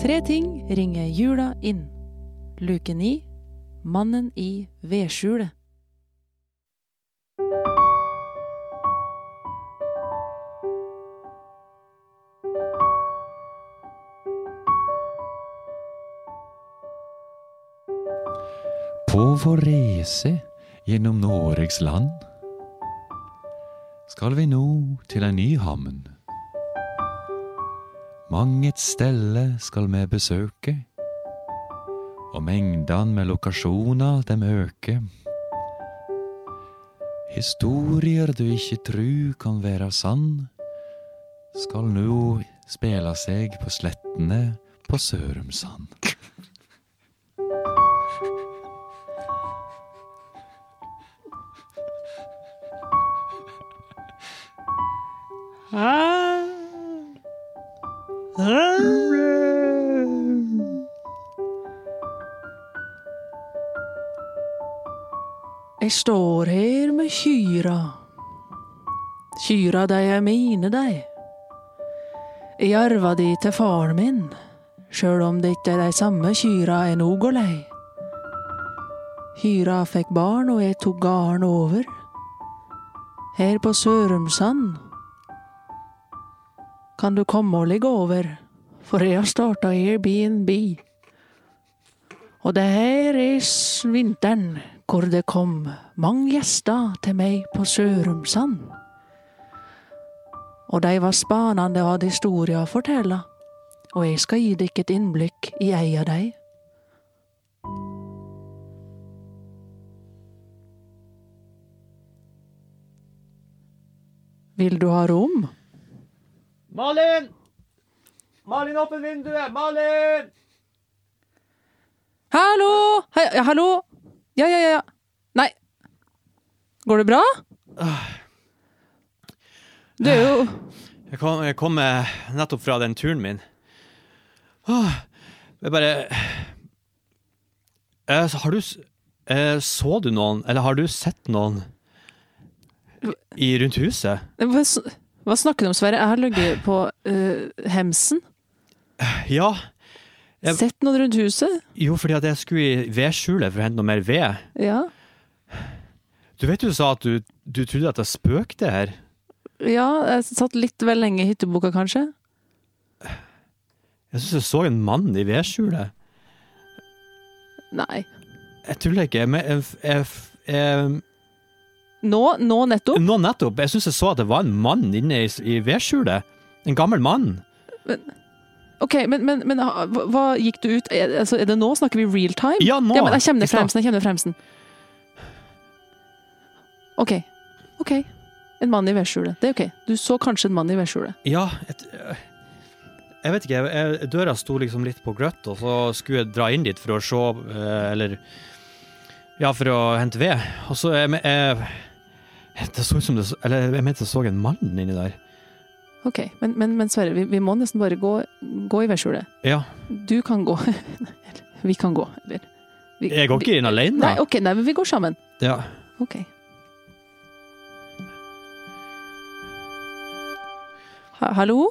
Tre ting ringer jula inn. Luke ni Mannen i vedskjulet. På vår reise gjennom Norges land skal vi nå til en ny hamn. Mang et stelle skal vi besøke, og mengden med lokasjoner dem øker. Historier du ikke tru kan være sann, skal nå spela seg på slettene på Sørumsand. Jeg står her med kyra. Kyra, de er mine, de. Jeg arva de til faren min, sjøl om det ikke er de samme kyra jeg nå går lei. Hyra fikk barn, og jeg tok garden over. Her på Sørumsand kan du komme og ligge over, for jeg har starta Airbnb. Og det her er s- vinteren hvor det kom mange gjester til meg på Sørumsand. Og de var spanende og hadde historier å fortelle, og jeg skal gi dere et innblikk i ei av dem. Vil du ha rom? Malin! Malin, åpne vinduet! Malin! Hallo! Hei, ja, hallo! Ja, ja, ja, ja. Nei. Går det bra? Du er jo Jeg kom, jeg kom eh, nettopp fra den turen min. Åh, jeg bare eh, så Har du s- eh, Så du noen, eller har du sett noen i, rundt huset? Hva, s- hva snakker du om, Sverre? Jeg har ligget på eh, hemsen. Ja. Jeg- Sett noen rundt huset? Jo, fordi at jeg skulle i vedskjulet for å hente noe mer ved. Ja. Du vet du sa at du, du trodde at det spøkte her? ja. Jeg satt litt vel lenge i hytteboka, kanskje. Jeg syns jeg så en mann i vedskjulet. Nei. Jeg tuller ikke. Men jeg, jeg, jeg Nå, nå nettopp? Nå nettopp. Jeg syns jeg så at det var en mann inne i, i vedskjulet. En gammel mann. Ok, men, men, men ha- hva, hva gikk du ut er, altså, er det nå? Snakker vi real time? Ja, nå! Ja, men jeg kommer I ned stad. fremsen, jeg kommer ned fremsen. Ok, ok. En mann i vedskjulet, det er ok. Du så kanskje en mann i vedskjulet. Ja, et, jeg vet ikke. Jeg, jeg, døra sto liksom litt på grøtt, og så skulle jeg dra inn dit for å se eh, Eller Ja, for å hente ved. Og så jeg, jeg, Det så ut som det så- Eller jeg mente jeg så en mann inni der. Ok, men, men, men Sverre, vi, vi må nesten bare gå, gå i vedskjulet. Ja. Du kan gå. Eller, vi kan gå. Eller, vi, Jeg går ikke inn alene. Nei, ok, nei, men vi går sammen. Ja. Ok. Ha, hallo?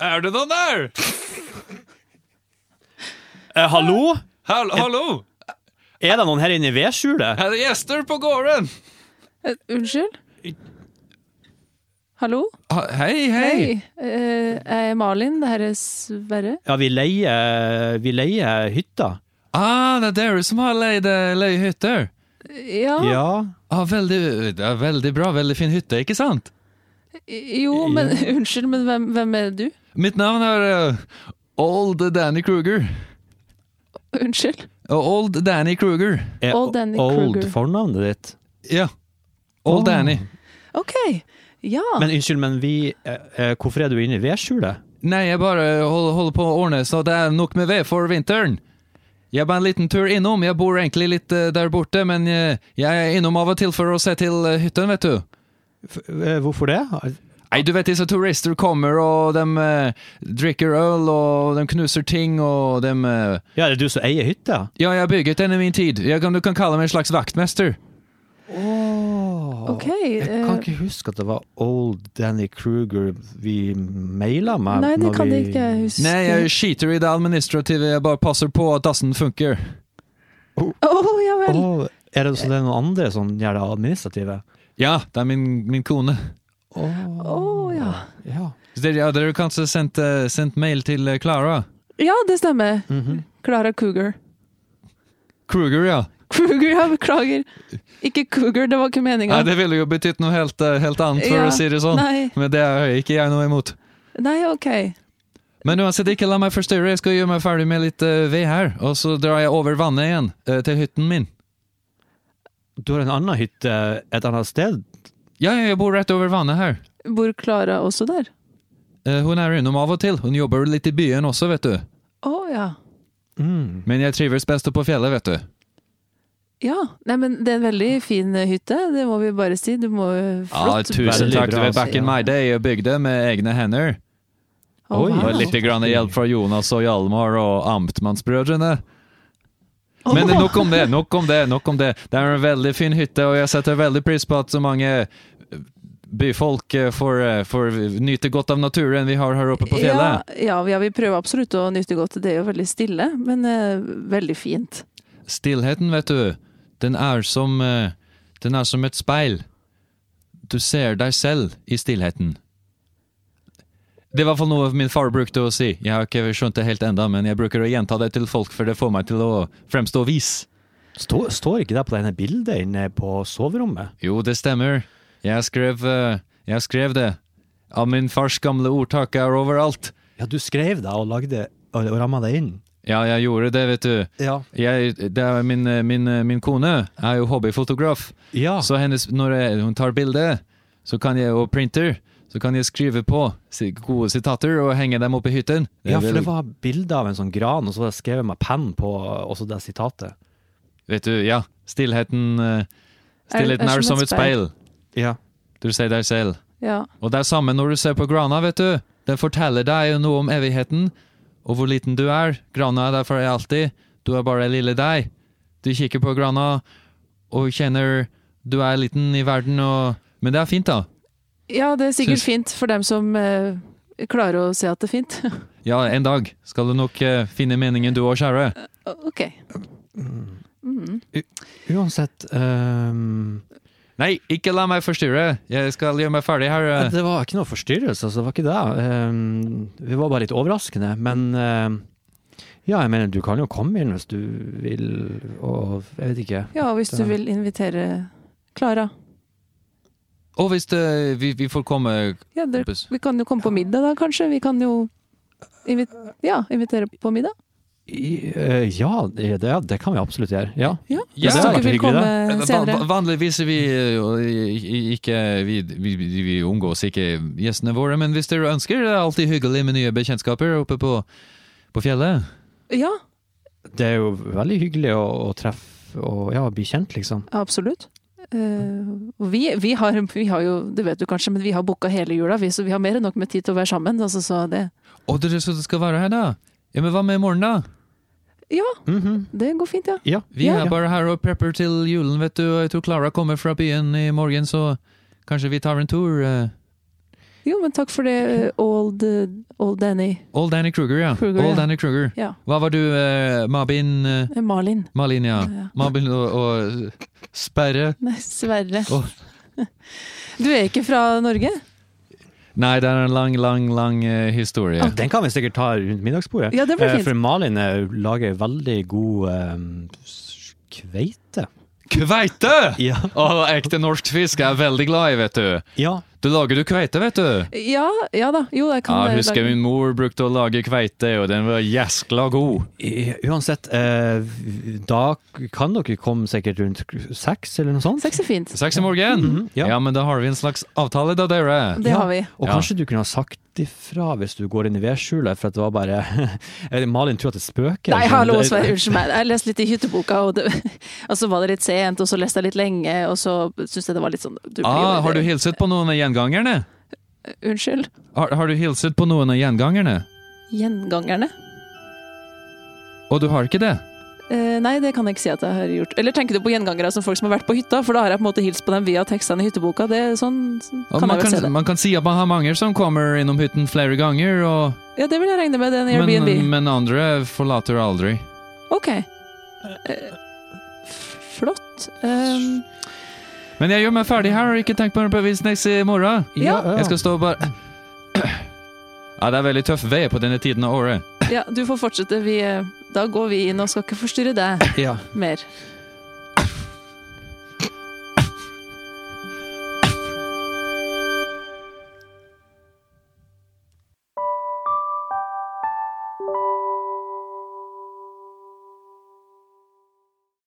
Er det noen der? Eh, hallo? Hall hallo! Er det noen her inne i vedskjulet? Er det gjester på gården? Eh, unnskyld? Hallo? Ha Ah, hei, hei, Eh, jeg er Malin, det her er Sverre. Ja, vi leier, vi leier hytta. Ah, det er dere som har leid eh, leie hytter. Ja, Ja. Ah, veldig, det er veldig bra, veldig fin hytte, ikke sant? Jo, men unnskyld, men hvem, hvem er du? Mitt navn er eh, Old Danny Kruger. Eh, Unnskyld. Old Danny Kruger. Er Old Danny Eh, Old Kruger. fornavnet ditt? Ja. Old Åh. Danny. Ok, ja. Men unnskyld, men vi eh, eh, Hvorfor er du inne i vedskjulet? Nei, jeg bare holder, holder på å ordne, så det er nok med ved for vinteren. Jeg var en liten tur innom, jeg bor egentlig litt eh, der borte, men eh, jeg er innom av og til for å se til eh, hytten, vet du. F- eh, Hvorfor det? Nei, du vet disse turister kommer og de eh, drikker øl og de knuser ting og de eh, Ja, er det du som eier hytta? Ja, jeg har bygget den i min tid. Jeg kan, du kan kalle meg en slags vaktmester. Å OK. Jeg kan eh, ikke huske at det var Old Danny Kruger vi maila med. Nei, det når kan vi... jeg ikke huske. Nei, jeg skiter i det administrative, jeg bare passer på at dassen funker. Å, ja vel. Åh, er det så det er noen andre som gjør det administrative? Ja, det er min, min kone. Åh, Å, ja. ja. Så dere, ja, dere kanskje sendt, eh, sendt mail til eh, Clara? Ja, det stemmer. Mhm. Clara Cougar. Kruger, ja. Kruger, jeg beklager. Ikke Cougar, det var ikke meninga. Nei, det ville jo betydd noe helt, eh, helt annet, for Ja, å si det sånn. Nei. Men det er ikke jeg noe imot. Nei, OK. Men uansett, ikke la meg forstyrre. Jeg skal gjøre meg ferdig med litt eh, ved her, og så drar jeg over vannet igjen eh, til hytten min. Du har en annen hytte et annet sted? Ja, ja, jeg bor rett over vannet her. Bor Clara også der? Eh, Hun er innom av og til. Hun jobber litt i byen også, vet du. Å ja. Mm. Men jeg trives best på fjellet, vet du. Ja. Nei, men det er en veldig fin eh, hytte, det må vi bare si. Du må Ja, Flott. Ah, tusen Veldig takk. Du bra, vet, back in altså. my day, jeg bygde med egne hender. Å, Oi, wow. Og litt grann hjelp fra Jonas og Hjalmar og Amtmannsbrødrene. Å, Men nok om det, nok om det. nok om Det Det er en veldig fin hytte, og jeg setter veldig pris på at så mange eh, byfolk eh, får, eh, får nyte godt av naturen vi har her oppe på fjellet. Ja, ja, vi- ja, vi prøver absolutt å nyte godt. Det er jo veldig stille, men eh, veldig fint. Stillheten, vet du, den er som eh, Den er som et speil. Du ser deg selv i stillheten. Det er i hvert fall noe min far brukte å si. Jeg har ikke skjønt det helt enda, men jeg bruker å gjenta det til folk, for det får meg til å fremstå vis. Står, står ikke det på denne bildet inne på soverommet? Jo, det stemmer. Jeg skrev, eh, jeg skrev det. Av min fars gamle ordtak er overalt. Ja, du skrev det og lagde og, og ramma det inn. Ja, jeg gjorde det, vet du. Ja. Jeg, det er min, eh, min, eh, min kone er jo hobbyfotograf, ja. så hennes, når jeg, hun tar bilde så kan jeg, og printer, så kan jeg skrive på si- gode sitater og henge dem opp i hytten. Det er Ja, for vel- det var bilde av en sånn gran, og så hadde jeg skrevet med penn på også det sitatet. Vet du, ja. Stillheten, eh, stillheten er, som et speil. Ja. Du ser deg selv. Ja. Og det er samme når du ser på grana, vet du. Den forteller deg noe om evigheten, og hvor liten du er. Grana er der for deg alltid. Du er bare lille deg. Du kikker på grana og kjenner du er liten i verden og Men det er fint, da. ja, det er sikkert Syns- fint for dem som eh, klarer å se at det er fint. Ja, en dag skal du nok eh, finne meningen, du òg, kjære. OK. Mm. Uansett ehm, Nei, ikke la meg forstyrre. Jeg skal gjøre meg ferdig her. eh. Det var ikke noe forstyrrelse, så det var ikke det. Ehm, vi var bare litt overraskende. Men ehm, ja, jeg mener, du kan jo komme inn hvis du vil, og jeg vet ikke. Ja, og hvis du vil invitere Klara. Og hvis det, vi, vi får komme Ja, dere, kompis. vi kan jo komme på middag da, kanskje. Vi kan jo invi ja, invitere på middag. I- eh, ja, det, det- det kan vi absolutt gjøre. Ja. Ja, Ja, Hvis dere det hadde vært vil hyggelig, komme Va- Eh, va- Eh, senere. Vanligvis vi, eh, jo, i- i- ikke, vi, vi, vi vi omgås ikke gjestene våre, men hvis dere ønsker, det er alltid hyggelig med nye bekjentskaper oppe på, på fjellet. Ja, Det er jo veldig hyggelig å, å treffe og ja, bli kjent, liksom. absolutt. Eh, og vi, vi, har, vi har jo, det vet du kanskje, men vi har booka hele jula, vi, så vi har mer enn nok med tid til å være sammen. Altså, så det, Å, dere så det skal være her da? Ja, men hva med i morgen da? Mhm. det går fint, ja. Ja. Vi Ja. er bare her og prepper til julen, vet du, og jeg tror Clara kommer fra byen i morgen, så kanskje vi tar en tur. eh. Jo, men takk for det, eh, old, eh, old Danny. Old Danny Kruger, ja. Kruger, Old ja. Danny Kruger. Ja. Hva var du, eh, Mabin? eh, Eh, Malin. Malin, ja. Ja. Mabin og, og Sperre. Nei, Sverre. Åh. Du er ikke fra Norge? Nei, det er en lang, lang, lang eh, historie. Den kan vi sikkert ta rundt middagsbordet. Ja, det blir Eh, fint. For Malin eh, lager veldig god eh, s- kveite. Kveite! Ja. Og ekte norsk fisk er jeg veldig glad i, vet du. Du lager du kveite, vet du. Ja, ja da. Jo, jeg kan Ja, eh, jeg husker lage- min mor brukte å lage kveite, og den var jæskla god. I- Uansett, eh, da kan dere komme sikkert rundt seks eller noe sånt. Sex er fint. Seks i morgen. Ja. Ja. men da har vi en slags avtale, da, dere. Det Ja. har vi. Og Ja. kanskje du kunne ha sagt ifra hvis du går inn i vedskjulet, for at det var bare Eller Malin tror at det spøker. Nei, liksom. hallo, Det- Sverre, unnskyld meg. Jeg leste litt i hytteboka, og, det, og så var det litt sent, og så leste jeg litt lenge, og så syntes jeg det var litt sånn du blir Ah, jo- har du hilset på noen av gjengangerne? Unnskyld. Har, har du hilset på noen av gjengangerne? Gjengangerne? Og du har ikke det? Eh, nei, det kan jeg ikke si at jeg har gjort. Eller tenker du på gjengangere som folk som har vært på hytta? For da har jeg på en måte hilst på dem via tekstene i hytteboka. Det er sånn, sånn Og kan man, jeg vel se kan, det. man kan si at man har mange som kommer innom hytten flere ganger, og, Ja, det vil jeg regne med. Det er en men, eh, Airbnb. men andre forlater aldri. Ok. Eh, f- flott. Ehm, Men jeg gjør meg ferdig her, og ikke tenk på noe bevisneks i morgen. Ja. Jeg skal stå og bare Ja, det er veldig tøff vei på denne tiden av året. ja, du får fortsette. Vi, eh, da går vi inn og skal ikke forstyrre deg Ja. mer.